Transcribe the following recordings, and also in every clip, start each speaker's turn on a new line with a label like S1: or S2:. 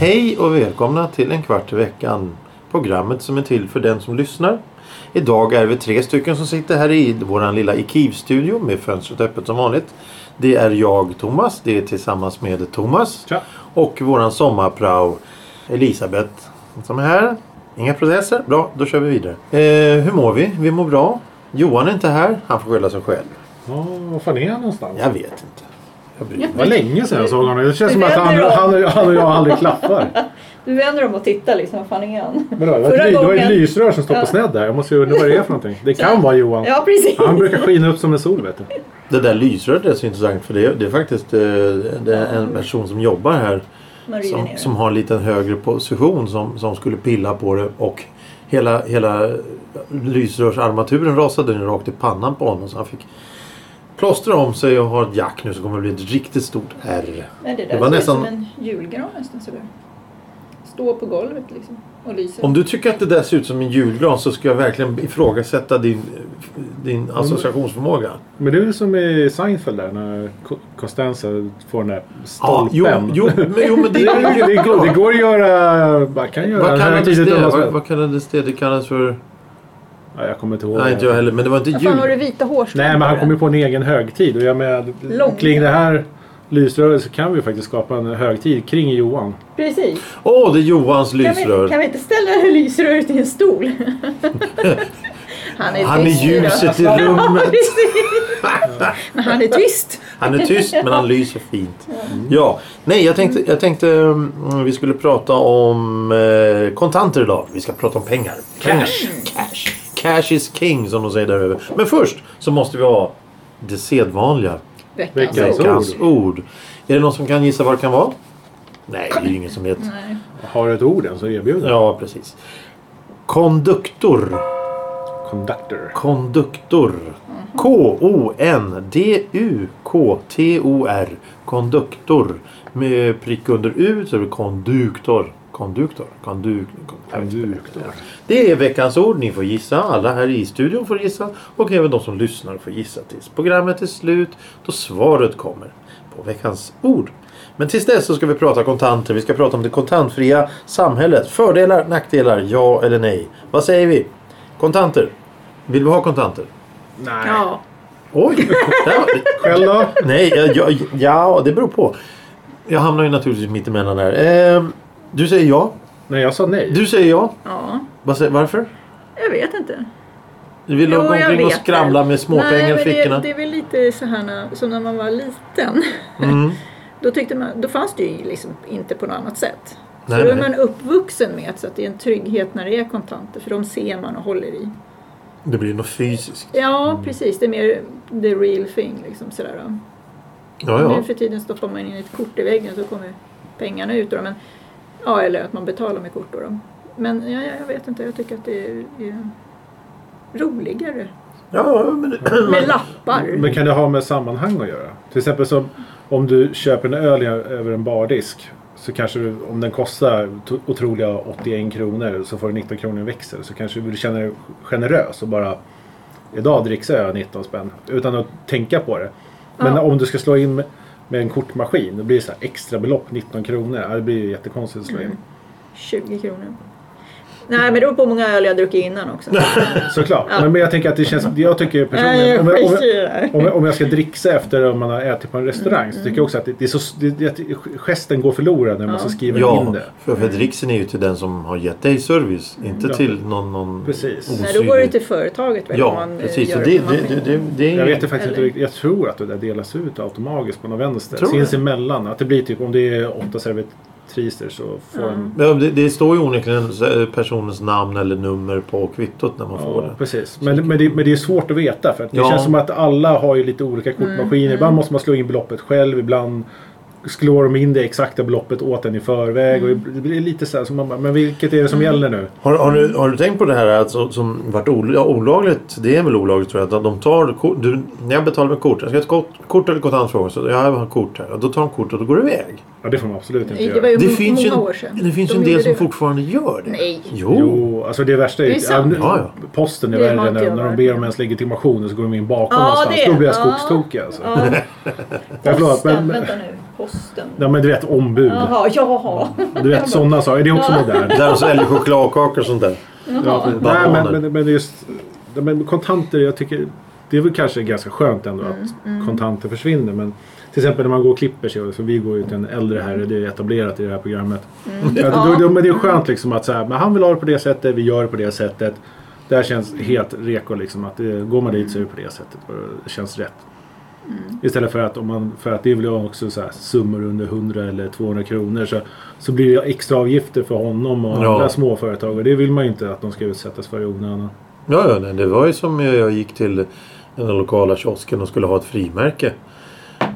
S1: Hej och välkomna till en kvart i veckan. Programmet som är till för den som lyssnar. Idag är vi tre stycken som sitter här i vår lilla IKIV-studio med fönstret öppet som vanligt. Det är jag, Thomas. Det är tillsammans med Thomas.
S2: Tja.
S1: Och våran sommarprao, Elisabeth, som är här. Inga processer. Bra, då kör vi vidare. Eh, hur mår vi? Vi mår bra. Johan är inte här. Han får skylla sig själv.
S2: Ja, var fan är han någonstans?
S1: Jag vet inte. Jag bryr mig.
S2: Det var länge sedan jag såg honom. Det känns
S3: Det
S2: som att han,
S3: vänder om.
S2: han, han och jag aldrig klaffar.
S3: Du vänder om och tittar liksom, vad fan är han?
S2: Men då, det, var ett,
S3: Förra
S2: ly- det var ett
S3: gången-
S2: lysrör som stod på sned där. Jag måste ju undra vad det är för någonting. Det kan vara Johan.
S3: Ja, precis.
S2: Han brukar skina upp som en sol vet du.
S1: Det där lysröret är så intressant för det, det är faktiskt eh, det är en person som jobbar här
S3: Man river
S1: som,
S3: ner
S1: som har en liten högre position som, som skulle pilla på det och hela, hela lysrörsarmaturen rasade ner rakt i pannan på honom så han fick plåstra om sig och ha ett jack nu så kommer det bli ett riktigt stort R.
S3: Nej, det där
S1: det var
S3: ser ut
S1: nästan-
S3: som en julgran nästan sådär. Stå på golvet liksom och lyser.
S1: Om du tycker att det där ser ut som en julgran så ska jag verkligen ifrågasätta din,
S2: Mm.
S1: din associationsförmåga.
S2: Men det är väl som i Seinfeld där när Co- Costanza får den där
S1: Ja,
S2: stolpen.
S1: jo, jo, men, jo, men det
S2: Det,
S1: är
S2: det, det, går, det går att göra... Man kan göra
S1: Vad
S2: den här
S1: kallades
S2: tidigt
S1: det?
S2: undan-
S1: Vad, vad kallades det? Det kallades för...
S2: ja, Jag kommer inte ihåg.
S1: Nej, inte jag heller. Men det var inte
S3: Vad fan har
S1: jul.
S3: du vita hårstrån
S2: Nej, men han
S3: på
S2: kom
S3: det?
S2: ju på en egen högtid. Och jag med,
S3: Lång.
S2: kring det här lysröret så kan vi ju faktiskt skapa en högtid kring Johan.
S3: Precis.
S1: Åh, det är Johans
S3: Kan vi, kan
S1: lysrör.
S3: vi inte ställa lysröret i en stol? han är
S1: Han är
S3: tyst. idag.
S1: ljuset i rummet.
S3: Men han är tyst.
S1: Han är tyst men han lyser fint. Ja, nej jag tänkte, jag tänkte mm, vi skulle prata om eh, kontanter idag. Vi ska prata om pengar. Cash, cash. Cash is king som de säger där över. Men först så måste vi ha det sedvanliga.
S3: Veckans
S2: Veckans
S3: ord.
S1: Veckans ord. Är det någon som kan gissa vad det kan vara? Nej, det är ju ingen som vet.
S3: Nej.
S2: Har du ett ord än så erbjuder jag.
S1: Ja, precis. Konduktor.
S2: Conductor.
S1: Konduktor. K-O-N-D-U-K-T-O-R. Konduktor. Med prick under U så är det konduktor. Konduktor. Konduk...
S2: Conductor.
S1: Det är veckans ord. Ni får gissa. Alla här i studion får gissa. Och även de som lyssnar får gissa tills programmet är slut. Då svaret kommer på veckans ord. Men tills dess så ska vi prata kontanter. Vi ska prata om det kontantfria samhället. Fördelar, nackdelar, ja eller nej. Vad säger vi? Kontanter. Vill vi ha kontanter?
S2: Nej.
S3: Ja.
S1: Oj! Där var-
S2: Själv då?
S1: Nej, jag, jag, ja, det beror på. Jag hamnar ju naturligtvis mittemellan där. Ehm, du säger ja.
S2: Nej, jag sa nej.
S1: Du säger ja.
S3: ja.
S1: Vad säger- Varför?
S3: Jag vet inte.
S1: Du vill
S3: Jo,
S1: gå
S3: jag
S1: omkring och
S3: vet
S1: skramla
S3: det.
S1: med
S3: Nej,
S1: småpengar i
S3: men
S1: fickorna?
S3: Det, det är väl lite så här när, som när man var liten.
S1: Mm.
S3: Då, tyckte man, då fanns det ju liksom inte på något annat sätt.
S1: Nej,
S3: så då är
S1: nej.
S3: man uppvuxen med så att det är en trygghet när det är kontanter för de ser man och håller i.
S1: Det blir något fysiskt.
S3: Ja,
S2: Mm.
S3: precis. Det är mer the real thing. Liksom, sådär. då.
S1: Ja,
S3: Nu
S1: ja.
S3: för tiden stoppar man in ett kort i väggen så kommer pengarna ut. Då, men, ja, eller att man betalar med kort. Då, då. Men ja, ja, jag vet inte, jag tycker att det är, är roligare.
S1: ja ja, men,
S3: Med lappar.
S2: Men kan det ha med sammanhang att göra? Till exempel som om du köper en öl i- över en bardisk. Så kanske du, om den kostar to- otroliga 81 kronor så får du 19 kronor i växel. Så kanske du känner dig generös och bara Idag dricks jag 19 spänn. Utan att tänka på det. Men
S3: Ja.
S2: om du ska slå in med, med en kortmaskin. Då blir det så här extra belopp 19 kronor. Ja, Det blir ju jättekonstigt att slå in.
S3: Mm. 20 kronor. Nej, men det beror på hur många öl jag druckit innan också.
S2: Såklart. Men- Men jag tänker att det känns... Jag tycker
S3: Nej,
S2: personligen...
S3: jag
S2: Om, jag- om,
S3: skiter
S2: jag-
S3: i det där.
S2: om, jag- om jag ska dricksa efter om man har ätit på en restaurang så tycker jag också att det, det är så, det, det, gesten går förlorad när man
S3: Mm. Ja.
S2: så skriver in
S1: ja
S2: det.
S1: för, för dricksen är ju till den som har gett dig service. Inte
S2: Ja.
S1: till någon, någon
S2: Precis.
S3: Nej, då går det
S1: osynlig.
S3: till företaget. väl, om
S1: Ja,
S3: man, eh,
S1: precis. Så det,
S3: gör på
S1: det,
S3: maskin.
S1: det, det, det är...
S2: Jag vet det faktiskt inte
S3: Eller-
S2: riktigt. Jag tror att det där delas ut automatiskt på någon vänster.
S1: Tror du?
S2: Sinsemellan. Att det blir typ om det är åtta servitriser så får en...
S1: Ja, det, det står ju onekligen eh, personens namn eller nummer på kvittot när man får
S2: Ja,
S1: det.
S2: precis. Men, men, det, men det är svårt att veta för att det
S1: Ja.
S3: Mm,
S2: känns som att alla har ju lite olika kortmaskiner. Ibland måste man slå in beloppet själv, ibland slår de in det exakta beloppet åt en i förväg.
S3: Mm.
S2: Och det blir lite så här som man bara, men vilket är det som gäller nu?
S1: Har, har, du,
S3: Mm.
S1: har du tänkt på det här att så, som varit ol, ja, olagligt? Det är väl olagligt tror jag. Att de tar kort. Du, när jag betalar med kort. Jag ska ha ett kort, kort eller kontant fråga. Så jag har ett kort här. Och då tar de kort och då går det iväg.
S2: Ja, det får man absolut inte
S3: Det var
S2: göra.
S3: ju
S1: Det
S3: må-
S1: finns ju
S3: många
S1: en,
S3: år sedan.
S1: det finns
S3: De
S1: ju en del
S3: gjorde
S1: som
S3: det.
S1: fortfarande gör det.
S3: Nej.
S1: Jo.
S2: Jo, alltså det värsta är,
S3: Det är sant.
S2: nu-
S1: Ja, ja.
S2: Posten är
S3: Det har
S2: värre
S3: inte
S2: när,
S3: jag
S2: när de
S3: varit
S2: ber
S3: med
S2: om
S3: om.
S2: ens legitimation och så går de in bakom
S3: Ja,
S2: någonstans.
S3: det.
S2: Då blir jag
S3: Ja.
S2: skogstokig alltså. Ja.
S3: Ja,
S2: förlåt,
S4: Posten,
S2: men- Mm.
S4: vänta nu. Posten.
S2: men du vet ombud.
S4: Jaha, jaha.
S2: Du vet sådana saker. Är det också modernt?
S1: Där de säljer chokladkakor och sånt där.
S2: Ja, för-
S1: Bara
S2: nej,
S1: honor.
S2: men, men, men just ja, men kontanter, jag tycker det är väl kanske ganska skönt ändå
S3: Mm,
S2: att kontanter försvinner. Men till exempel när man går och klipper sig, så vi går ju till en äldre herre, det är etablerat i det här programmet.
S3: Mm.
S2: Ja, då, då, men det är skönt liksom att så här, men han vill ha det på det sättet, vi gör det på det sättet. Det här känns helt reko liksom, att det, går man dit så är det på det sättet och det känns rätt. Istället för att, om man, för att det vill jag också så här, summor under 100 eller 200 kronor så, så blir det extra avgifter för honom och
S1: Ja.
S2: andra småföretag och det vill man ju inte att de ska utsättas för i onödan.
S1: Ja, ja nej, det var ju som jag gick till den där lokala kiosken och skulle ha ett frimärke.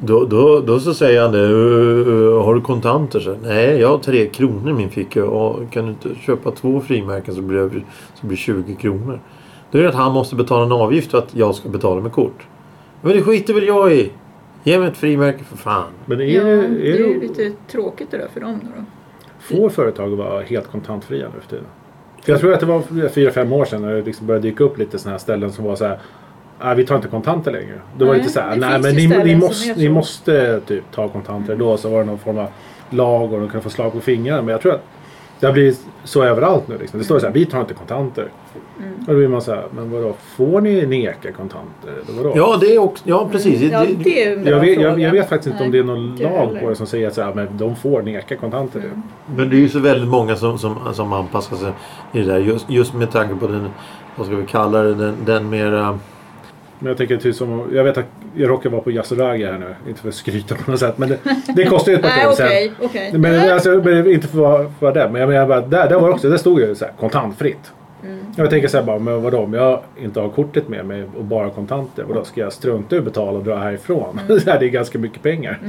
S1: Då, då, då så säger han det. "Eh, eh, Har du kontanter? Så, Nej, jag har tre kronor i min ficka. Och kan du inte köpa två frimärken så blir det, så blir det 20 kronor. Då är det att han måste betala en avgift för att jag ska betala med kort. Men det skiter väl jag i. Ge mig ett frimärke för fan.
S2: Men är,
S3: det
S2: det,
S3: är
S2: är
S3: ju
S2: det,
S3: lite tråkigt det där för dem då.
S2: får företag att vara helt kontantfria nu för tiden? För jag tror att det var 4-5 år sedan när det liksom började dyka upp lite sådana här ställen som var så här. "Ah, vi tar inte kontanter längre. Då var det
S3: Nej,
S2: lite så här,
S3: det
S2: nej
S3: finns
S2: men
S3: ju
S2: ni, ni,
S3: ställen som
S2: måste,
S3: är
S2: ni
S3: så."
S2: måste typ ta kontanter. Då så var det någon form av lag och de kunde få slag på fingrarna. Men jag tror att det har blivit så överallt nu. Liksom. Det står så här, vi tar inte kontanter.
S3: Mm.
S2: Och då blir man så här, men vadå, får ni neka kontanter? Eller vadå?
S1: Ja, det är också, ja precis.
S4: Ja,
S1: Det-
S4: det är en bra
S2: jag, vet,
S4: fråga.
S2: jag, jag vet faktiskt inte om det
S4: Nej.
S2: är någon
S4: inte
S2: lag
S4: heller.
S2: på det som säger att så här, men de får neka kontanter. nu.
S1: Men det är ju så väldigt många som, som, som anpassar sig i det där. Just, just med tanke på den, vad ska vi kalla det, den, den mera...
S2: Men jag tänker typ som, jag vet att jag råkar vara på Yasuragi här nu. Inte för att skryta på något sätt. Men det, det kostar ju ett par
S3: Nej,
S2: tusen.
S3: okej. okej.
S2: Men det- alltså, men det är inte för att vara- för att vara där. Men jag menar bara, där, där var det också, där stod jag ju så här kontantfritt.
S3: Mm.
S2: Och Jag tänker så här bara, men vadå om jag inte har kortet med mig och bara kontanter. Och då ska jag strunta i att betala och dra härifrån.
S3: Mm.
S2: så här, det är ganska mycket pengar.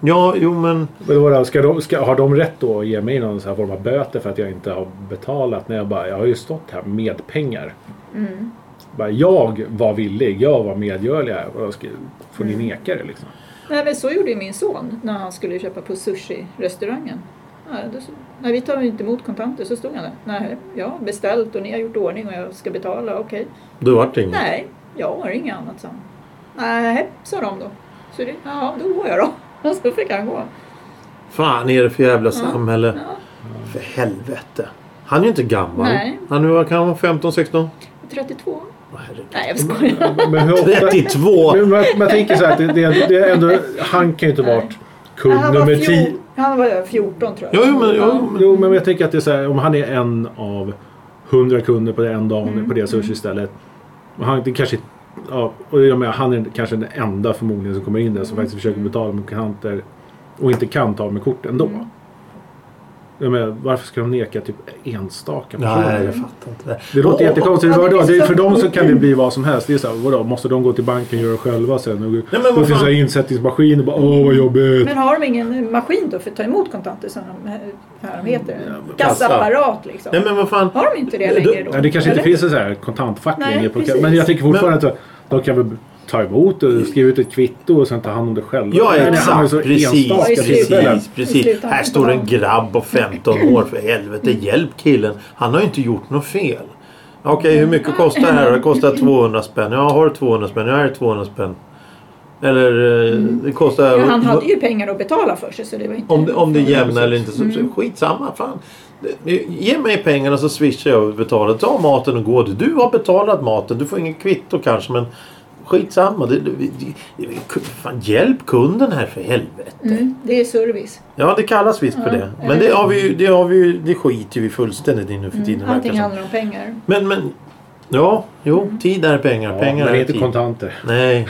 S1: Ja, jo men...
S2: Men då var det, ska de, ska, har de rätt då att ge mig någon så här form av böter för att jag inte har betalat? När jag bara, jag har ju stått här med pengar.
S3: Mm.
S2: Bara, jag var villig, jag var medgörlig här. Och då ska, får ni neka det liksom?
S3: Nej, men så gjorde ju min son när han skulle köpa på sushi-restaurangen. Ja, då så- Nej, vi tar ju inte emot kontanter. Så stod han där. Nej, jag har beställt och ni har gjort ordning och jag ska betala. Okej.
S1: Du vart det inget.
S3: Nej, jag har inget annat, sa han. Nej, sa de då. Så det, ja, då går jag då. Och så fick han gå.
S1: Fan är det för jävla
S3: Mm.
S1: samhälle? För helvete. Han är ju inte gammal.
S3: Nej.
S1: Han nu var- kan vara 15, 16?
S3: 32?
S1: Åh, herregud.
S3: Nej, jag skojar.
S2: Men hur ofta,
S1: 32!
S2: men man, man tänker så här, att det, det, det är ändå, han kan ju inte varit kund
S3: Han var,
S2: nummer
S3: fjol,
S2: 10.
S3: han var 14 tror
S1: Jo,
S3: jag.
S1: jo, men, jo, men,
S2: Jo, men jag tänker att det är så här, om han är en av hundra kunder på det en dag på det sushi-stället. Och han det kanske... Ja, och jag menar, han är kanske den enda förmodligen som kommer in där som faktiskt försöker betala med kontanter och inte kan ta med kort ändå. Jag menar, varför ska de neka typ enstaka personer?
S1: Nej, jag fattar inte. det.
S2: Det låter
S1: Och-
S2: jättekonstigt.
S4: ja, det
S2: Vadå?
S4: är
S2: Det är
S4: så-
S2: för dem så kan det bli vad som helst. Det är så här, vadå? Måste de gå till banken och göra det själva sen? Och
S1: men
S2: gå
S1: vad
S2: till så här
S1: fan?
S2: insättningsmaskin och bara åh vad jobbigt.
S3: Men har de ingen maskin då för att ta emot kontanter som de, här de heter?
S1: men kassa.
S3: Kassaapparat liksom.
S1: Nej men vad fan.
S3: Har de inte det
S1: Nej, då-
S3: längre då?
S2: Nej, det kanske inte
S3: Eller?
S2: finns en sån här kontantfack
S3: Nej,
S2: längre. På,
S3: precis.
S2: men jag tänker fortfarande att de kan väl ta emot och skriva ut ett kvitto och sen ta hand om det själva.
S1: Ja
S2: Nej, det handlar ju
S1: exakt,
S2: så
S1: precis,
S2: enstaka
S3: Ja, i
S2: tillfällen.
S1: precis,
S3: slutändan. I
S1: precis.
S3: slutändan.
S1: Här står en grabb på 15 år, för helvete hjälp killen. Han har ju inte gjort något fel. Okej, hur mycket kostar det här? Det kostar 200 spänn. Ja, har du 200 spänn? Ja, här är 200 spänn. Eller eh, det kostar...
S3: Mm. Ja, han hade ju pengar att betala för sig så det var inte...
S1: Om det, om det är jämna eller inte så
S3: Mm.
S1: så skitsamma. Fan. Ge mig pengarna så swishar jag och betalar. Ta maten och gå. Du har betalat maten. Du får ingen kvitto kanske men skitsamma. Det, det, det, det, fan, hjälp kunden här för helvete.
S3: Mm, det är service.
S1: Ja, det kallas visst för det. Men det, har vi, ju- det, har vi, ju- det skiter ju vi fullständigt i nu för tiden. verkar
S3: Mm. Allting
S1: som.
S3: handlar om pengar.
S1: Men, men... Ja, jo. Tid är pengar.
S2: Ja,
S1: pengar
S2: men
S1: är
S2: inte
S1: tid.
S2: kontanter.
S1: Nej.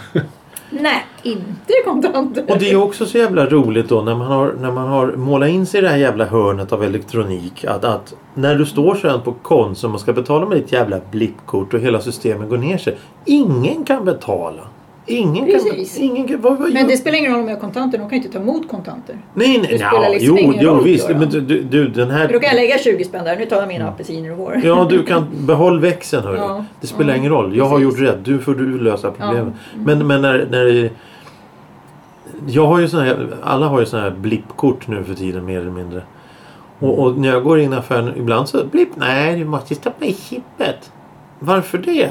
S3: Nej, inte kontanter.
S1: Och det är ju också så jävla roligt då när man har, när man har målat in sig i det här jävla hörnet av elektronik. Att, att när du står sen på Konsum och ska betala med ditt jävla blippkort och hela systemet går ner sig. Ingen kan betala. Ingen kan...
S3: Precis.
S1: Ingen kan vad, vad,
S3: Men det spelar ingen roll om jag har kontanter, de kan ju inte ta emot kontanter.
S1: nej, nej,
S3: det
S1: nja,
S3: spelar liksom
S1: jo,
S3: ingen
S1: jo,
S3: roll,
S1: visst.
S3: Göran.
S1: Men du, du, du, den
S3: För
S1: här...
S3: då kan jag lägga 20 spänn där, nu tar jag mina apelsiner och går.
S1: Ja, du kan behåll växeln hörru.
S3: Ja,
S1: det spelar
S3: ja,
S1: ingen roll. Jag har
S3: precis.
S1: gjort rätt. Du får du lösa problemen.
S3: mm.
S1: Men, men när, när... Jag har ju såna här... Alla har ju såna här blippkort nu för tiden mer eller mindre. Och, och när jag går in i affären ibland så blipp. Nej, du måste stoppa i chippet. Varför det?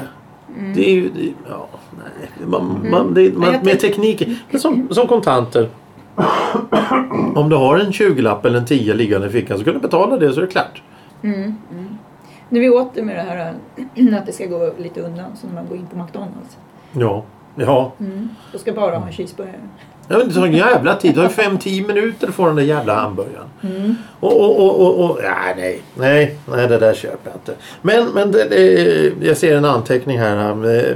S1: Det är ju... det- Ja, nej. Man, man, det, man,
S3: Ja, Mm. jag
S1: med
S3: tänk-
S1: teknik. Men Som, som kontanter. Om du har en 20-lapp eller en 10 liggande i fickan så kan du betala det så är det klart.
S3: Mm, mm. Nu är vi åter med det här äh, att det ska gå lite undan, som när man går in på McDonalds.
S1: Ja. Ja.
S3: Mm. Då ska bara ha en cheeseburgare.
S1: Ja, men Det tar en jävla tid. Det tar ju 5-10 minuter att få den där jävla hamburgaren.
S3: Mm.
S1: Och, och, och, och, och ja, nej, nej, nej, det där köper jag inte. Men, men det, det, jag ser en anteckning här. eh,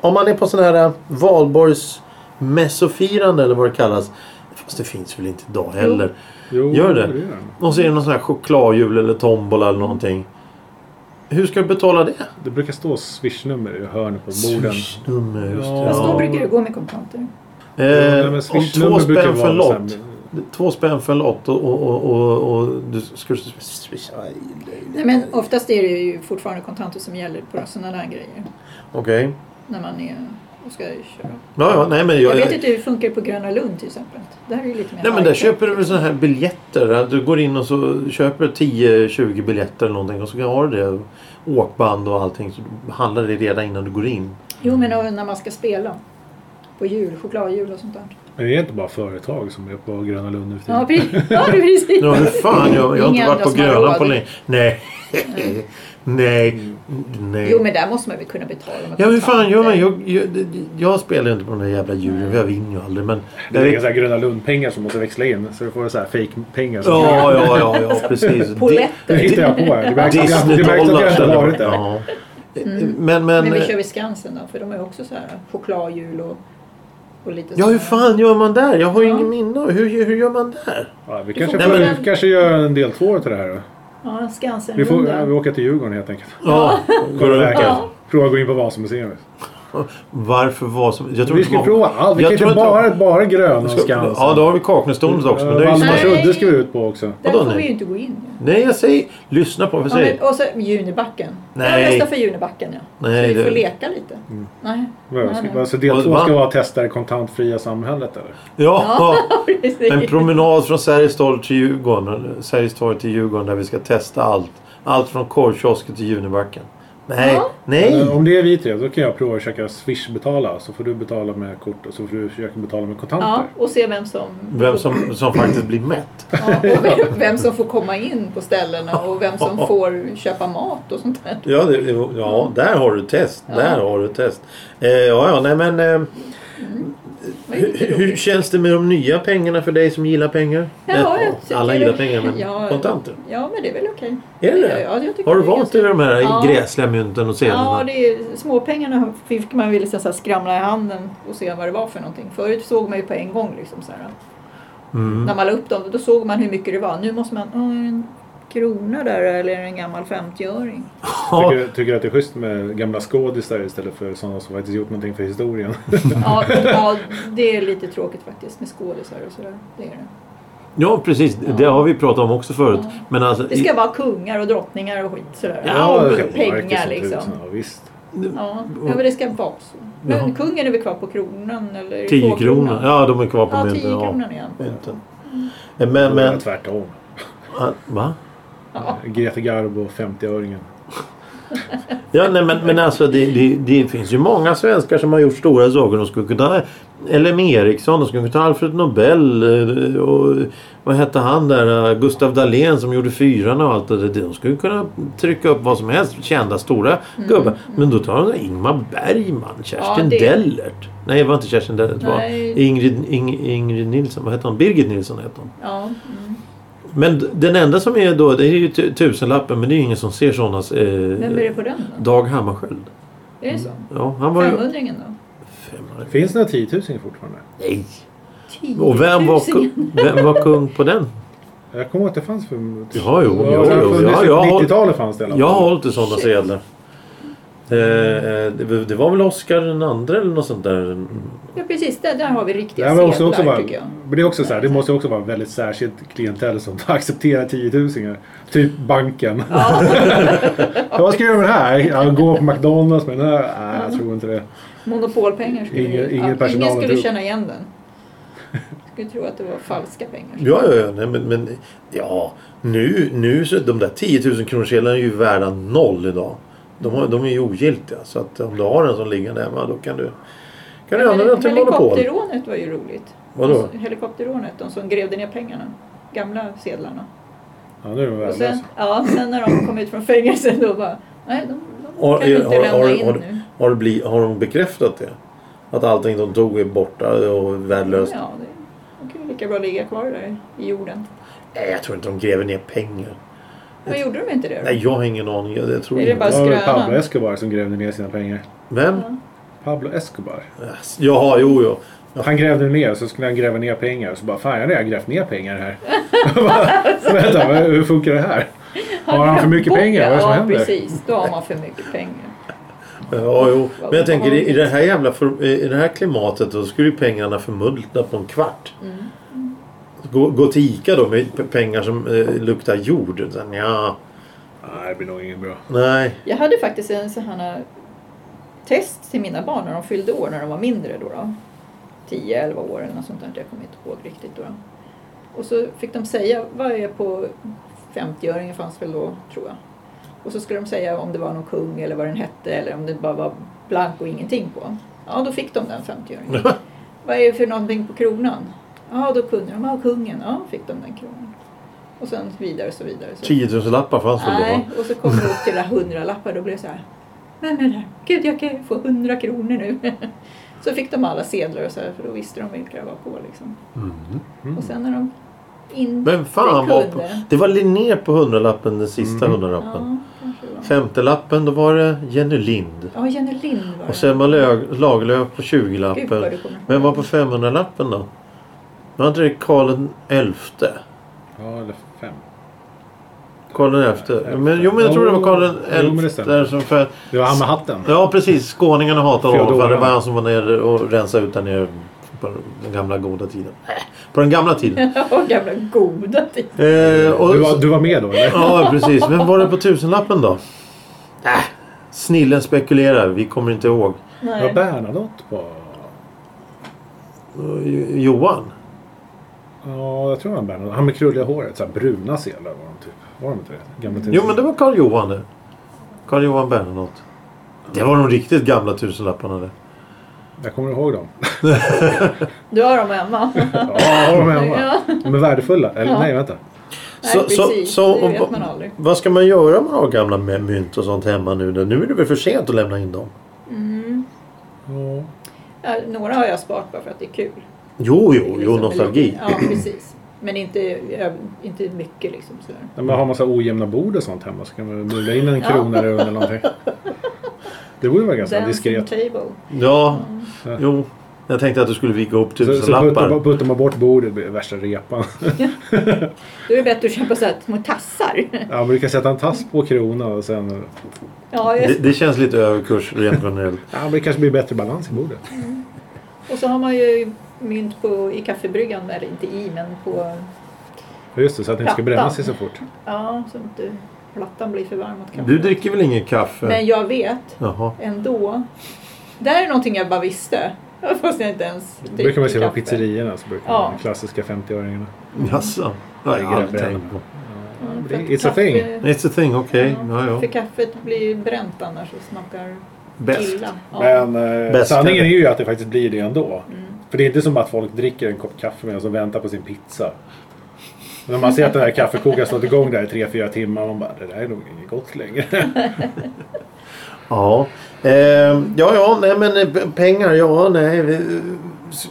S1: Om man är på sån här valborgsmässofirande eller vad det kallas. Fast det finns väl inte idag heller.
S2: Jo,
S1: Gör det.
S2: gör den.
S1: Och så är det någon sån här chokladhjul eller tombola eller någonting. Hur ska du betala det?
S2: Det brukar stå swishnummer i hörnet på borden.
S1: Swishnummer, just det.
S2: Ja.
S3: Fast då
S1: Ja.
S3: brukar det gå med kontanter.
S2: Ja,
S1: Eh,
S2: men
S1: om två
S2: swishnummer brukar
S1: spänn för en
S2: vara
S1: lott.
S2: så här-
S1: Två spänn för en lott och, och, och, och, och du skulle... swisha-
S3: Nej, men oftast är det ju fortfarande kontanter som gäller på sådana där grejer.
S1: Okej.
S3: När man är och ska köra.
S1: Ja, ja, nej men
S3: Jag
S1: jag...
S3: vet inte hur det funkar på Gröna Lund till exempel. Det här är ju lite mer
S1: Nej men där
S3: high-tech.
S1: köper du väl sådana här biljetter. att Du går in och så köper du 10-20 biljetter eller någonting och så har du det. Åkband och allting. Så du handlar det redan innan du går in.
S3: Jo men och när man ska spela. På jul, chokladjul och sånt där.
S2: Men det är inte bara företag som är på Gröna Lund nu för
S3: Ja
S2: tiden.
S3: precis. Ja, precis.
S1: Ja hur fan, jag, jag har inte
S3: Inga
S1: varit på
S3: andra som har
S1: Grönan
S3: råd.
S1: på länge. Nej. Nej. Nej.
S3: Jo men där måste man väl kunna betala med
S1: Ja hur fan gör man?
S3: kontanter.
S1: Jag, jag, jag spelar ju inte på de där jävla hjulen. för Jag vinner ju aldrig. Men
S2: Det är inga så här Gröna Lund-pengar som måste växla in. Så du får så här fake-pengar. som-
S1: Ja, ja, ja, ja precis.
S2: Det
S3: Poletter.
S2: hittar jag på här. Det märks att jag- det märks att jag
S1: Disney-dollar.
S2: inte har varit där.
S1: Ja. Men,
S3: Mm.
S1: eh,
S3: Men vi
S1: men...
S3: kör vid Skansen då för de har ju också så här chokladhjul och, och lite
S1: Ja,
S3: sån
S1: hur
S3: här-
S1: fan gör man där? Jag har ju
S3: Ja.
S1: ingen minne av hur, hur gör man där?
S2: Ja, vi
S3: Du
S2: kanske,
S1: får
S2: får,
S1: börja-
S2: vi kanske gör en del två till det här då.
S3: Ja, Skansen.
S2: Vi, får,
S3: Lunda.
S2: vi åker till Djurgården helt enkelt.
S1: Ja, går det
S2: Verkligen.
S1: verkligen?
S3: Ja.
S2: Prova att gå in på Vasamuseet.
S1: Varför var som... Jag tror
S2: Vi
S1: inte
S2: ska
S1: många-
S2: prova allt. Vi
S1: Jag
S2: kan inte
S1: tror inte-
S2: bara, bara Gröna och
S1: Ska-
S2: Skansen.
S1: Ja, då har vi Kaknästornet också. Men det är ju
S3: Nej.
S2: Valdemarsudde ska vi ut på också.
S3: Där
S1: Vadå,
S3: får
S1: nej?
S3: vi ju inte gå in. ju.
S1: Nej, jag säger... Lyssna på vad jag
S3: Ja, men,
S1: säger.
S3: och så Junibacken.
S1: Nej.
S3: Jag röstar för Junibacken ja.
S1: Nej,
S3: så vi
S1: det-
S3: får leka lite.
S2: Mm.
S3: Nej.
S2: Vad-
S3: Nej,
S2: ska-
S3: nej.
S2: Alltså del
S1: Och
S2: två
S1: va?
S2: ska vara att testa det kontantfria samhället eller?
S1: Ja,
S3: Precis.
S1: en promenad från Sergels torg till Djurgården. eller Sergels torg till Djurgården där vi ska testa allt. Allt från korvkiosken till Junibacken. Nej,
S3: Ja.
S1: nej!
S2: Men Om det är vi tre, då kan jag prova att försöka swish-betala. Så får du betala med kort och så får du försöka betala med kontanter.
S3: Ja, och se vem som,
S1: Vem som, som faktiskt blir mätt.
S3: ja, och vem, vem som får komma in på ställena och vem som får köpa mat och sånt där.
S1: Ja, det, det- ja där har du test. Där har du test. Eh, ja, ja, nej men... Eh,
S3: Det var ju
S1: hur,
S3: lite
S1: hur
S3: roligt.
S1: känns det med de nya pengarna för dig som gillar pengar?
S3: Ja,
S1: Eh,
S3: jag tycker
S1: alla
S3: det-
S1: gillar pengar, men
S3: ja.
S1: kontanter.
S3: Ja, men det är väl okej.
S1: Är det det?
S3: Ja, jag tycker
S1: Har du
S3: det är
S1: vant
S3: ganska-
S1: dig vid de här
S3: Ja.
S1: gräsliga mynten och sedlarna?
S3: Ja, det är, småpengarna fick man ju liksom så här skramla i handen och se vad det var för någonting. Förut såg man ju på en gång liksom så här.
S1: Mm.
S3: När man la upp dem, då såg man hur mycket det var. Nu måste man, "Åh, är det en krona där eller är det en gammal 50-öring?
S1: Ja,
S2: Tycker, tycker du att det är schysst med gamla skådisar istället för sådana som faktiskt gjort någonting för historien?
S3: Ja, ja, det är lite tråkigt faktiskt med skådisar och sådär. Det, är det.
S1: ja, precis. Det har vi pratat om också förut.
S3: Ja.
S1: Men alltså,
S3: det ska vara kungar och drottningar och skit sådär.
S1: Ja,
S3: och
S2: det ska vara Marcus
S3: pengar
S2: som
S3: liksom.
S2: tusan, Ja, visst.
S3: Ja, ja, men det ska vara så. Men
S1: Jaha.
S3: kungen är väl kvar på kronan eller?
S1: 10
S3: på
S1: kronor. Ja, de är kvar på
S3: Ja, Mm. 10
S1: mynten.
S3: kronan igen.
S1: Mynten. Eh, Men,
S2: Men...
S1: men...
S2: Tvärtom.
S1: ah, Va?
S3: Ja.
S2: Greta Garbo, 50-öringen.
S1: Ja, nej, men, men alltså det, det, det finns ju många svenskar som har gjort stora saker. De skulle kunna ta LM Eriksson, de skulle kunna ta Alfred Nobel eh, och vad hette han där? eh, Gustav Dahlén som gjorde fyran och allt det där. De skulle kunna trycka upp vad som helst. Kända stora gubbar. Men då tar de Ingmar Bergman, Kerstin
S3: Mm. Ja, det-
S1: Dellert. Nej, det var inte Kerstin Dellert. Det var
S3: Mm. Nej.
S1: Ingrid, Ing, Ingrid Nilsson. Vad hette hon? Birgit Nilsson hette hon.
S3: Ja, mm.
S1: Men d- den enda som är då, det är ju tu- tusenlappen. Men det är ju ingen som ser sådana.
S3: Vem
S1: Eh,
S3: är det på den då?
S1: Dag Hammarskjöld.
S3: Är det så?
S1: Ja, han var ju...
S3: Femhundringen då?
S1: Femhundra.
S2: Finns det några 10 000 fortfarande?
S1: Nej.
S3: 10
S1: Och vem var,
S3: 000.
S1: kung, vem var kung på den?
S2: Jag kommer ihåg att det fanns för...
S1: Ja, jo, jo,
S2: det har
S1: jo,
S2: funnits
S1: ja,
S2: på
S1: jag har-
S2: 90-talet fanns det i alla
S1: Jag har
S2: fall.
S1: inte sådana
S3: Shit.
S1: sedlar. Eh, Det, det var väl Oscar den andra eller något sånt där.
S3: Ja precis, där, där har vi
S2: Det,
S3: riktiga
S2: här måste också
S3: sedlar
S2: vara,
S3: tycker jag.
S2: men det, är också så här, det måste också vara väldigt särskilt klientell som accepterar tiotusingar. Typ banken. Ja, Vad ska jag göra med den här? Ja, gå på McDonalds med den här? Nej, jag tror inte det.
S3: Monopolpengar skulle
S2: Ingen- ingen
S3: ja,
S2: personal
S3: ingen skulle
S2: tror-
S3: känna igen den. Skulle tro att det var falska pengar.
S1: Ja, ja, ja. Nej, men, men, ja. Nu, nu så de där 10 000 kronorssedlarna är ju värda noll idag. De, har, de är ju ogiltiga. Så att om du har en sån liggande hemma då kan du, kan du
S3: Men
S1: använda den till monopol.
S3: Helikopterrånet var ju roligt.
S1: Vadå?
S3: Helikopterrånet, de som grävde ner pengarna. Gamla sedlarna.
S2: Ja, nu är den
S3: Och sen,
S2: värdelös.
S3: ja, sen när de kom ut från fängelset då bara, nej de, de
S1: Har,
S3: kan vi inte
S1: har,
S3: lämna
S1: har,
S3: in
S1: har,
S3: nu.
S1: har, det bli, har de bekräftat det? Att allting de tog är borta och värdelöst?
S3: Ja, det, de kan ju lika bra ligga kvar där i jorden.
S1: Nej, jag tror inte de gräver ner pengar.
S3: Vad gjorde de inte det då?
S1: Nej, jag har ingen aning. Jag, jag tror
S3: Är det
S1: inte.
S3: bara-
S2: Det var väl
S3: skrönan.
S2: Pablo Escobar som grävde ner sina pengar.
S1: Vem?
S2: Pablo Escobar.
S1: Jaha, jo, jo.
S2: Han grävde ner och så skulle han gräva ner pengar. Så bara, fan jag har redan grävt ner pengar här. Jag bara, Vänta, vad- hur funkar det här? Har han för mycket
S3: Boka,
S2: pengar? Vad är det som
S3: ja,
S2: händer?
S3: precis. Då har man för mycket pengar.
S1: Ja, jo. Men jag tänker i i det här jävla för, i det här klimatet då skulle ju pengarna förmultna på en kvart. Gå, gå till Ica då med p- pengar som eh, luktar jord. Sen, ja,
S2: Nej, det blir nog inget bra.
S1: nej.
S3: Jag hade faktiskt en sån här test till mina barn när de fyllde år när de var mindre då. då. 10, 11 år eller något sånt där. Jag kommer inte ihåg riktigt då. då. Och så fick de säga, vad är på 50-öringen fanns väl då tror jag. Och så skulle de säga om det var någon kung eller vad den hette eller om det bara var blank och ingenting på. Ja, då fick de den 50-öringen. vad är det för någonting på kronan? Ja, då kunde de, ja kungen, ja fick de den kronan. Och sen vidare så vidare. Så
S1: 10 000 lappar fanns väl då?
S3: Nej, och så kom jag upp till hundra lappar då blev det så här. Vem är det där? Gud, jag kan ju få hundra kronor nu. Så fick de alla sedlar och så här, för då visste de vilka det var på liksom.
S2: Mm.
S3: Och sen när de inte
S1: Mm. Men fan var på,
S3: kunde.
S1: Det var Linné på hundralappen, den sista hundralappen.
S3: Ja, kanske det var.
S1: Femte lappen då var det Jenny Lind.
S3: Ja, Jenny Lind var
S1: Och
S3: det.
S1: Selma Lög- Lagerlöf på
S3: Gud, vad
S1: 20-lappen.
S3: du kommer ihåg.
S1: Vem var på 500-lappen då? Var inte det Karl XI?
S2: Ja, eller fem.
S1: Karl XI. Men, jo men jag tror det var
S2: Jo, men
S1: Karl
S2: det
S1: XI
S2: stämmer.
S1: där som för...
S2: Det var han med hatten.
S1: Ja precis, skåningarna hatade honom för det var
S2: Feodorerna.
S1: han som var nere och rensade ut där nere på den gamla goda tiden. Äh, På den gamla tiden.
S3: Ja, gamla goda tid.
S1: eh, och,
S2: Du var, du var med då eller?
S1: Ja precis, vem var det på tusenlappen då? Äh, snillen spekulerar, vi kommer inte ihåg.
S2: Var
S3: Nej.
S2: Bernadotte på?
S1: Jo- Eh, Johan?
S2: Ja, jag tror det var Bernadotte. Han med krulliga håret. Så här bruna sedlar var de typ. Var de inte det? Gamla tidningar.
S1: Jo men det var Karl Johan det. Karl Johan Bernadotte. Det var de riktigt gamla tusenlapparna det.
S2: Jag kommer ihåg dem.
S3: Du har dem hemma.
S2: Ja, jag har dem hemma.
S3: Ja.
S2: De är värdefulla. Eller
S3: Ja.
S2: nej, vänta.
S3: Nej,
S1: Så- så-
S3: precis.
S1: så-
S3: det vet
S1: och-
S3: man aldrig.
S1: Vad ska man göra om man har gamla me- mynt och sånt hemma nu då? Nu är det väl för sent att lämna in dem?
S2: Ja.
S3: Mm. Ja, några har jag sparat bara för att det är kul.
S1: Jo,
S3: Det är
S1: jo, jo,
S3: liksom-
S1: nostalgi.
S3: Ja, precis. Men inte, inte mycket liksom sådär.
S2: När man har massa ojämna bord och sånt hemma så kan man mula in en krona där under någonting. Det borde vara ganska
S3: Dancing
S2: diskret.
S3: table.
S1: Ja, jo. Jag tänkte att du skulle vika ihop
S2: Så, så puttar, man,
S1: tusenlappar.
S2: puttar man bort bordet blir det värsta repan.
S3: Då är det bättre att köpa så här små tassar.
S2: Ja, man brukar sätta en tass på kronan och sen...
S3: Ja,
S1: Det,
S3: just.
S1: det känns lite överkurs rent generellt.
S2: Ja, men det kanske blir bättre balans i bordet.
S3: Och så har man ju mynt på, i kaffebryggan, eller inte i men på,
S2: Ja, Just det, så att det inte ska bränna sig så fort.
S3: ja så att inte plattan blir för varm åt kaffet.
S1: Du dricker väl ingen kaffe?
S3: Men jag vet
S1: Jaha.
S3: ändå. Det här är någonting jag bara visste. Fast jag inte ens
S2: Det brukar man se på
S3: kaffe.
S2: pizzerierna, så brukar
S3: Ja.
S2: man- de klassiska 50-öringarna.
S3: Mm.
S1: Jaså? Det har jag
S2: Ja,
S1: aldrig
S2: det är
S1: tänkt på.
S3: Ja,
S2: men
S3: för
S2: det-
S3: att
S2: it's a thing.
S3: kaffe-
S1: It's a thing, okej. Ja,
S3: För
S1: ja.
S3: kaffet blir ju bränt annars och smakar
S1: Bäst.
S3: illa. Ja. Mm.
S2: Men eh,
S1: Bäst
S2: sanningen
S1: kanske.
S2: är ju att det faktiskt blir det ändå. För det är inte som att folk dricker en kopp kaffe medan de väntar på sin pizza. När man ser att den här kaffekokaren har stått igång där i 3-4 timmar man bara det där är nog inget gott längre.
S1: Ja. Ehm, ja, ja, nej men eh, p- pengar, ja, nej. vi- eh, s-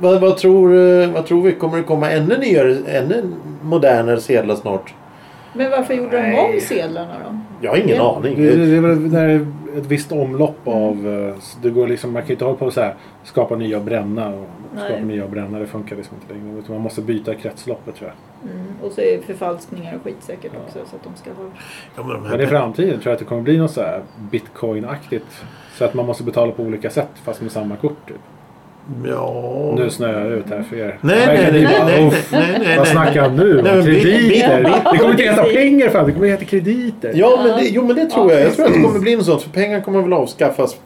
S1: Vad, vad, tror, eh, vad tror vi? Kommer det komma ännu nyare, ännu modernare sedlar snart?
S3: Men varför gjorde de
S2: Nej.
S3: om sedlarna då?
S1: Jag har ingen
S3: Ja.
S1: aning.
S2: Det, det är väl när det är ett visst omlopp av... eh, Det går liksom, man kan ju inte hålla på och så här, skapa nya och bränna. Och,
S3: Nej.
S2: Skapa nya brännare funkar liksom inte längre. Utan man måste byta kretsloppet tror jag.
S3: Mm. Och så är förfalskningar och skit säkert
S2: Ja.
S3: också så att de ska ha...
S1: Ja, men de här
S2: Men i framtiden tror jag att det kommer bli något så här bitcoin-aktigt. Så att man måste betala på olika sätt fast med samma kort. Typ.
S1: Ja...
S2: Nu snöar jag ut här för er.
S1: Nej, nej, nej,
S2: Men ni
S1: nej,
S2: bara,
S1: nej,
S2: "Uff,
S1: nej, nej,
S2: Vad
S1: nej, nej.
S2: snackar han nu om?
S1: Nej, men bit-
S2: Krediter!
S1: bit-
S2: Det kommer inte heta pengar fan, det kommer heta krediter.
S1: Ja, men det, jo, men det tror jag. Jag tror att det kommer bli något sånt. För pengar kommer väl avskaffas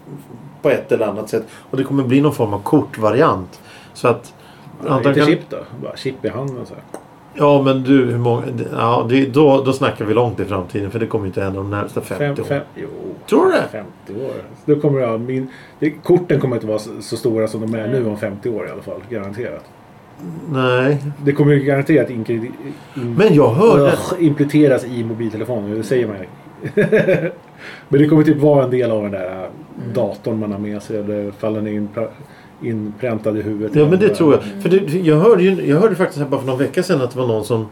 S1: på ett eller annat sätt. Och det kommer bli någon form av kortvariant. Så att...
S2: Inte
S1: antagligen-
S2: chip då? Bara chip i handen så här.
S1: Ja, men du, hur många... Ja, det, då, då snackar vi långt i framtiden. För det kommer ju inte hända de närmaste 50
S2: Fem, fem,
S1: åren.
S2: jo.
S1: Tror du det?
S2: 50 år. Då kommer jag, min, det, korten kommer inte vara så, så stora som de är nu om 50 år i alla fall. Garanterat.
S1: Nej.
S2: Det kommer ju garanterat inkri- in,
S1: Men jag hörde...
S2: Ugh, implementeras i mobiltelefoner. Det säger man ju. Men det kommer typ vara en del av den där äh,
S1: Mm.
S2: datorn man har med sig. Eller faller in, inpräntad i huvudet.
S1: Ja, men det tror jag. För det, jag, hörde ju, jag hörde faktiskt här bara för någon vecka sedan att det var någon som...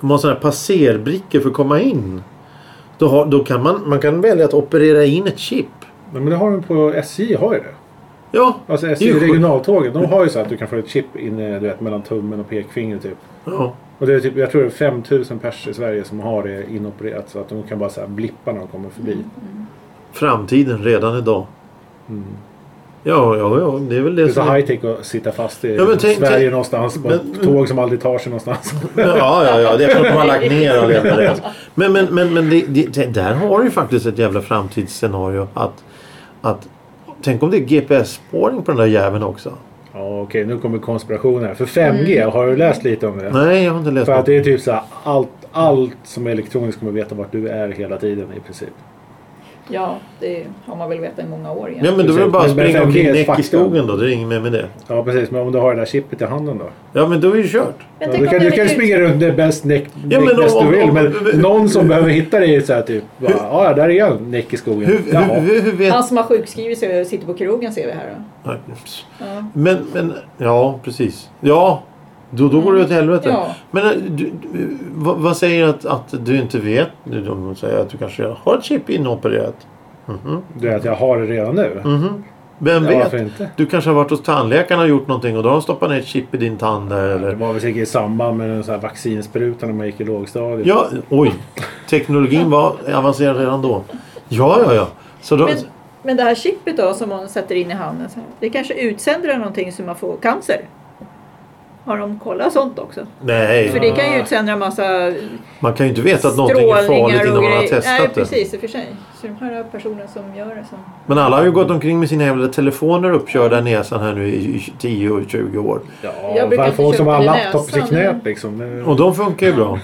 S1: De har sådana här passerbrickor för att komma in. Då, har, då kan man, man kan välja att operera in ett chip.
S2: Nej, men det har de på SJ. har ju det.
S1: Ja,
S2: Alltså
S1: Det
S2: SJ
S1: är ju sjukt.
S2: regionaltågen. De har ju så att du kan få ett chip inne du vet, mellan tummen och pekfingret. Typ.
S1: ja.
S2: Och det är typ, jag tror det är 5000 pers i Sverige som har det inopererat så att de kan bara så här blippa när de kommer förbi.
S1: Mm. Framtiden redan idag.
S2: Mm.
S1: Ja, ja, ja. Det är väl
S2: Det
S1: det
S2: är så
S1: som...
S2: high tech att sitta fast i
S1: Ja, men tänk-
S2: Sverige
S1: tänk-
S2: någonstans på ett
S1: Men-
S2: tåg som aldrig tar sig någonstans.
S1: Ja, ja, ja. Det är för att de har lagt ner och lämnat det. Men, men, men, men det, det, det, där har du ju faktiskt ett jävla framtidsscenario. Att, att, tänk om det är GPS-spåring på den där jäveln också.
S2: Ja, okej, nu kommer konspirationen här. För 5G,
S3: Mm.
S2: har du läst lite om det?
S1: Nej, jag har inte läst
S2: För att det
S1: något.
S2: är typ så här, allt, allt som är elektroniskt kommer veta vart du är hela tiden i princip.
S3: Ja, det har man väl vetat i många år
S1: Ja,
S3: egentligen.
S1: men då är det bara att
S2: Men- men
S1: springa
S2: 5G
S1: omkring
S2: är ett
S1: näck i
S2: faktum.
S1: skogen då. Det är inget mer med det.
S2: Ja, precis. Men om du har det där chippet i handen då?
S1: Ja, men då är det kört.
S3: Men
S2: Ja,
S3: tänk
S2: du
S3: om
S2: kan,
S3: det
S2: du kan
S3: räcker-
S2: springa runt det bäst näck
S1: Ja,
S2: näck
S1: men om-
S2: bäst
S1: om-
S2: du vill.
S1: om-
S2: Men
S1: om-
S2: någon som behöver hitta dig är så här typ. bara, Ja, ja, där är jag. Näck i skogen.
S1: Hur, hur,
S2: Jaha.
S1: hur, hur vet...
S3: Han som har sjukskrivit sig och sitter på krogen ser vi här då.
S1: Nej,
S3: Ja.
S1: Men, men... Ja, precis. Ja. Då, då går det åt helvete.
S3: Mm. Ja.
S1: Men eh, du, du, vad, vad säger att, att du inte vet? Du- De säger att du kanske redan har ett chip inopererat. Mhm.
S2: Du vet, jag har det redan nu.
S1: Mhm. Vem
S2: Ja,
S1: vet?
S2: varför inte?
S1: Du kanske har varit hos tandläkaren och gjort någonting och då har de stoppat ner ett chip i din tand där
S2: Det
S1: eller...
S2: var väl säkert i samband med den så här vaccinsprutan när man gick i lågstadiet.
S1: Ja, oj. Teknologin var avancerad redan då. Ja, ja, ja. Så då...
S3: Men, men det här chippet då som man sätter in i handen, så här, det kanske utsöndrar någonting så man får cancer? Har de kollat sånt också? För
S1: Nej,
S3: det kan ju utsöndra en massa
S1: man kan ju inte veta att någonting är farligt innan man har
S3: Nej,
S1: testat det.
S3: precis. I och för sig. Så de här personerna som gör det som...
S1: Men alla har ju gått omkring med sina jävla telefoner uppkörda i näsan här nu i i 10 och 20 år.
S2: Ja,
S3: Jag brukar
S2: fan,
S3: inte
S2: folk som
S3: köpa
S2: har
S3: det i
S2: laptops i
S3: näsan,
S2: knät
S3: men-
S2: liksom. Det-
S1: Och de funkar ju bra.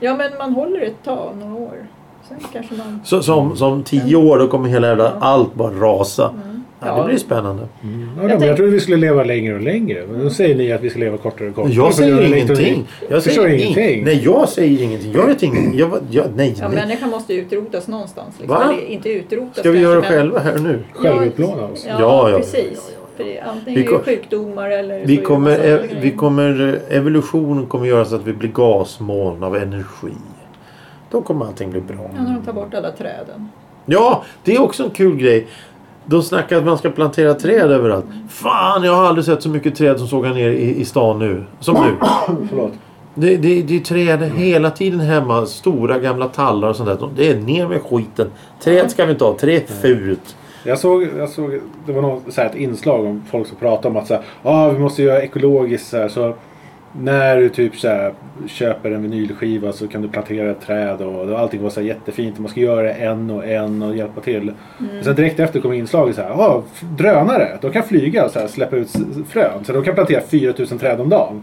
S3: Ja, men man håller ett tag, några år. Sen kanske man...
S1: Så, som, som tio år då kommer hela jävla allt bara rasa.
S3: Mm.
S1: Ja, det blir spännande.
S2: Ja, jag,
S3: tänk-
S2: jag trodde vi skulle leva längre och längre. Men nu säger ni att vi ska leva kortare och kortare.
S1: Men jag
S2: För det är
S1: säger
S2: elektronik.
S1: ingenting. Jag
S2: Förstår
S1: säger ingenting.
S2: ingenting.
S1: Nej, jag säger ingenting. Jag vet ingenting. Jag, jag, nej,
S3: Ja,
S1: nej.
S3: människan måste ju utrotas någonstans.
S1: Va?
S3: Liksom. Eller inte utrotas
S1: Ska vi
S3: kanske,
S1: göra det
S3: men-
S1: själva här nu?
S2: Självutplåna oss.
S3: Ja,
S1: Ja,
S3: ja,
S1: ja,
S2: alltså.
S3: precis.
S1: ja, ja, ja.
S3: För det är antingen
S1: Vi
S3: är
S1: kom-
S3: det sjukdomar eller...
S1: Vi
S3: så är det
S1: kommer,
S3: massa andra
S1: ev- vi
S3: grejer.
S1: kommer, eh, evolutionen kommer göra så att vi blir gasmoln av energi. Då kommer allting bli bra.
S3: Ja, när de tar bort alla träden.
S1: Ja, det är också en kul grej. De snackar att man ska plantera träd överallt. Fan, jag har aldrig sett så mycket träd som sågar ner i, i stan nu. Som nu.
S2: Förlåt.
S1: Det, det, det är träd hela tiden hemma. Stora gamla tallar och sånt där. De- Det är ner med skiten. Träd ska vi inte ha. Träd är fult.
S2: Jag såg, jag såg det var något, så här, ett inslag om folk som pratade om att så här, ah, vi måste göra ekologiskt. Så, här, så när du typ så här, köper en vinylskiva så kan du plantera ett träd och, och allting var så här, jättefint. Man ska göra det en och en och hjälpa till. Och sen direkt efter kom inslaget så här, ah, f- drönare, de kan flyga och så här, släppa ut s- frön. Så de kan plantera 4000 träd om dagen.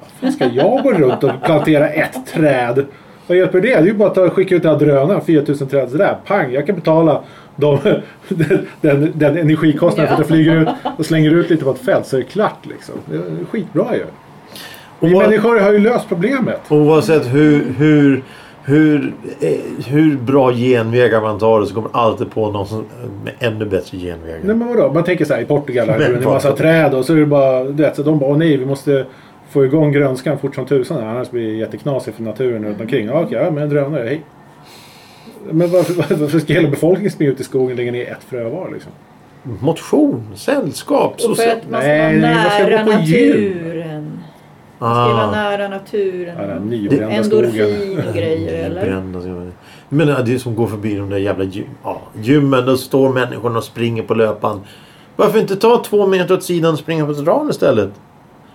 S2: Vad fan ska jag gå runt och plantera ett träd? Vad hjälper det? Det är ju bara att ta- skicka ut den här drönaren, 4000 träd sådär. Pang, jag kan betala de, den, den, den energikostnaden för att jag flyger ut och slänger ut lite på ett fält så är det klart liksom. Det är skitbra ju. Vi
S1: Oa-
S2: människor har ju löst problemet.
S1: Oavsett hur, hur, hur, eh, hur bra genvägar man tar så kommer man alltid på någon som, med ännu bättre genvägar.
S2: Nej men vadå? Man tänker så här i Portugal här,
S1: Men
S2: det är en massa
S1: vad-
S2: träd och så är det bara, du vet, så de bara åh nej vi måste få igång grönskan fort som tusan här, annars blir det jätteknasigt för naturen runt omkring. Ja okej, ja, men en drönare, hej. Men varför, varför ska hela befolkningen springa ut i skogen och lägga ner ett frö var liksom?
S1: Motion, sällskap,
S3: Och för
S1: social...
S3: att man ska
S2: Nej,
S3: vara
S2: man ska
S3: nära
S2: gå på gym.
S3: naturen. Man ska vara
S1: Ah,
S3: nära naturen.
S2: Ja, den nybrända skogen.
S3: Endorfin och grejer eller?
S1: brända ska man- Men det är det som går förbi de där jävla gym. Ja, gymmen, då står människorna och springer på löpan. Varför inte ta två meter åt sidan och springa på tran istället?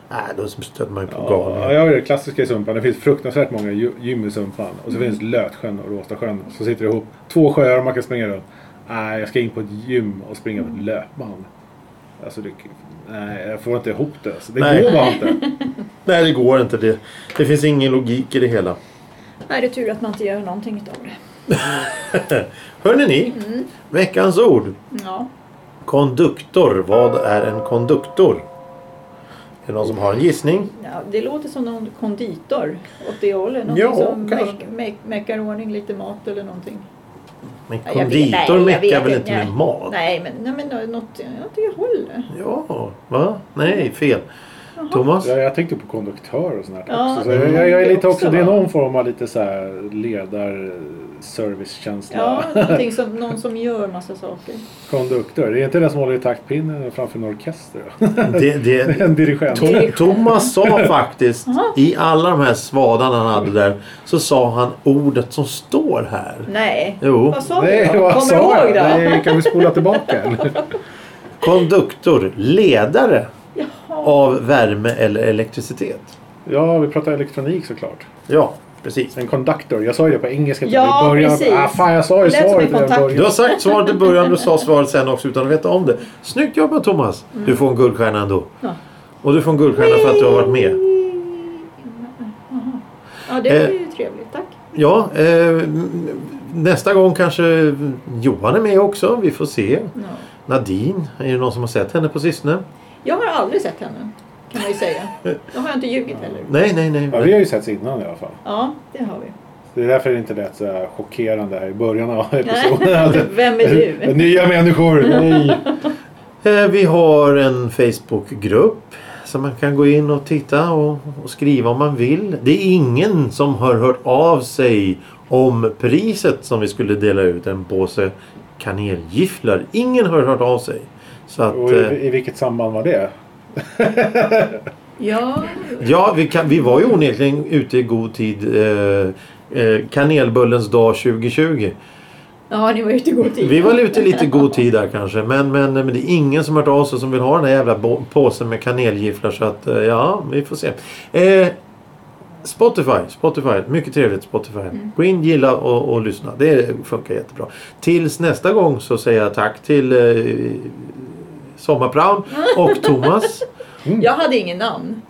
S1: Nej, då stöter man ju på
S2: Ja,
S1: galningar.
S2: jag har ju det klassiska i Sumpan. Det finns fruktansvärt många gy- gym i Sumpan. Och
S3: Mm.
S2: så finns Lötsjön och Råstasjön. Så sitter det ihop. Två sjöar man kan springa runt. Nej, jag ska in på ett gym och springa på ett
S3: Mm.
S2: löpband. Alltså, det, nej, jag får inte ihop det. Alltså. Det
S1: Nej.
S2: går bara inte.
S1: Nej, det går inte. Det, det finns ingen logik i det hela.
S3: Nej, det är tur att man inte gör någonting utav det.
S1: Hörrni ni,
S3: Mm.
S1: veckans ord.
S3: Ja.
S1: Konduktor. Vad är en konduktor? Är det någon som har en gissning?
S3: Ja, det låter som någon konditor åt det hållet. Någon
S1: Ja,
S3: som
S1: kanske.
S3: mek- mek- mekar ordning lite mat eller någonting.
S1: Men
S3: Ja, jag vet- nej,
S1: konditor
S3: jag
S1: meckar
S3: vet
S1: väl inte med
S3: nej.
S1: mat?
S3: Nej, men, nej, men nå- något åt det hållet.
S1: Ja, va? Nej, fel. Thomas?
S2: Jag, jag tänkte på konduktör och sånt där
S3: Ja,
S2: också. Så
S3: det
S2: jag, jag, jag är
S3: det
S2: lite också,
S3: också,
S2: det är
S3: va?
S2: någon form av lite så här ledarservicekänsla.
S3: Ja, någonting som, någon som gör massa saker.
S2: Konduktör. Det är inte den som håller i taktpinnen framför en orkester. då?
S1: Det, det,
S2: en dirigent.
S1: Tom, Thomas sa faktiskt
S3: Jaha.
S1: i alla de här svadarna han hade där så sa han ordet som står här.
S3: Nej.
S1: Jo,
S3: Vad sa du?
S2: Nej,
S3: då?
S2: vad
S3: Kommer
S2: sa
S3: du ihåg
S2: jag?
S3: det?
S2: Nej, kan vi spola tillbaka? eller?
S1: konduktor, ledare
S3: Jaha.
S1: av värme eller elektricitet.
S2: Ja, vi pratar elektronik såklart.
S1: Ja, precis.
S2: En conductor. Jag sa ju det på engelska
S3: Ja,
S2: i början.
S3: precis.
S2: Ah, fan, jag sa ju
S3: Det lät som
S2: svaret
S3: en
S2: redan i
S3: kontakt.
S1: Du
S2: början.
S1: har sagt svaret i början, du sa svaret sen också utan att veta om det. Snyggt jobbat Thomas! Du får en guldstjärna ändå.
S3: Ja.
S1: Och du får en guldstjärna för att du har varit med.
S3: Jaha. Ja, det är
S1: Eh.
S3: ju trevligt. Tack.
S1: Ja, eh, nästa gång kanske Johan är med också. Vi får se.
S3: Ja.
S1: Nadine, är det någon som har sett henne på sistone?
S3: Jag har aldrig sett henne, kan man ju säga. Då har jag inte ljugit heller.
S1: Nej, nej, nej.
S2: Ja, vi har ju setts innan i alla fall.
S3: Ja, det har vi.
S2: Det är därför det inte lät så här chockerande här i början av episoden.
S3: Vem är du?
S2: Nya människor! Nej!
S1: Eh, Vi har en Facebookgrupp som man kan gå in och titta och, och skriva om man vill. Det är ingen som har hört av sig om priset som vi skulle dela ut, en påse kanelgifflar. Ingen har hört av sig. Så att,
S2: Och
S1: eh,
S2: i, i vilket samband var det?
S3: Ja,
S1: ja, vi, kan, vi var ju onekligen ute i god tid. Eh, eh, kanelbullens dag 2020.
S3: ja ni var ute i god tid.
S1: Vi var ute i lite god tid där kanske. Men, men, men det är ingen som har hört av sig som vill ha den där jävla bo- påsen med kanelgifflar. Så att eh, ja, vi får se. Eh, Spotify, Spotify. Mycket trevligt Spotify.
S3: Mm.
S1: Gå in, gilla och, och lyssna. Det funkar jättebra. Tills nästa gång så säger jag tack till eh, Sommarpraon och Thomas.
S3: Jag hade ingen namn.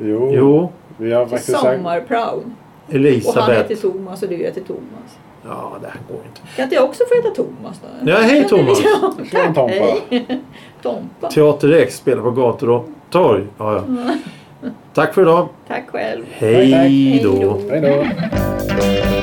S2: Jo,
S1: Jo,
S2: vi har
S3: Till
S2: faktiskt sagt...
S3: Sommarpraon. Och han
S1: Elisabeth.
S3: heter Thomas och du heter Thomas.
S1: Ja, det här går inte.
S3: Kan inte jag också få heta Thomas då?
S1: Ja, hej, Thomas.
S3: Ja,
S2: Tjena,
S3: tack.
S2: Tompa.
S3: Hej. Tompa.
S1: Teater X spelar på gator och torg. Ja, ja.
S3: Mm.
S1: Tack för idag.
S3: Tack själv.
S1: Hej
S2: Tack, tack.
S1: då.
S2: Hej då!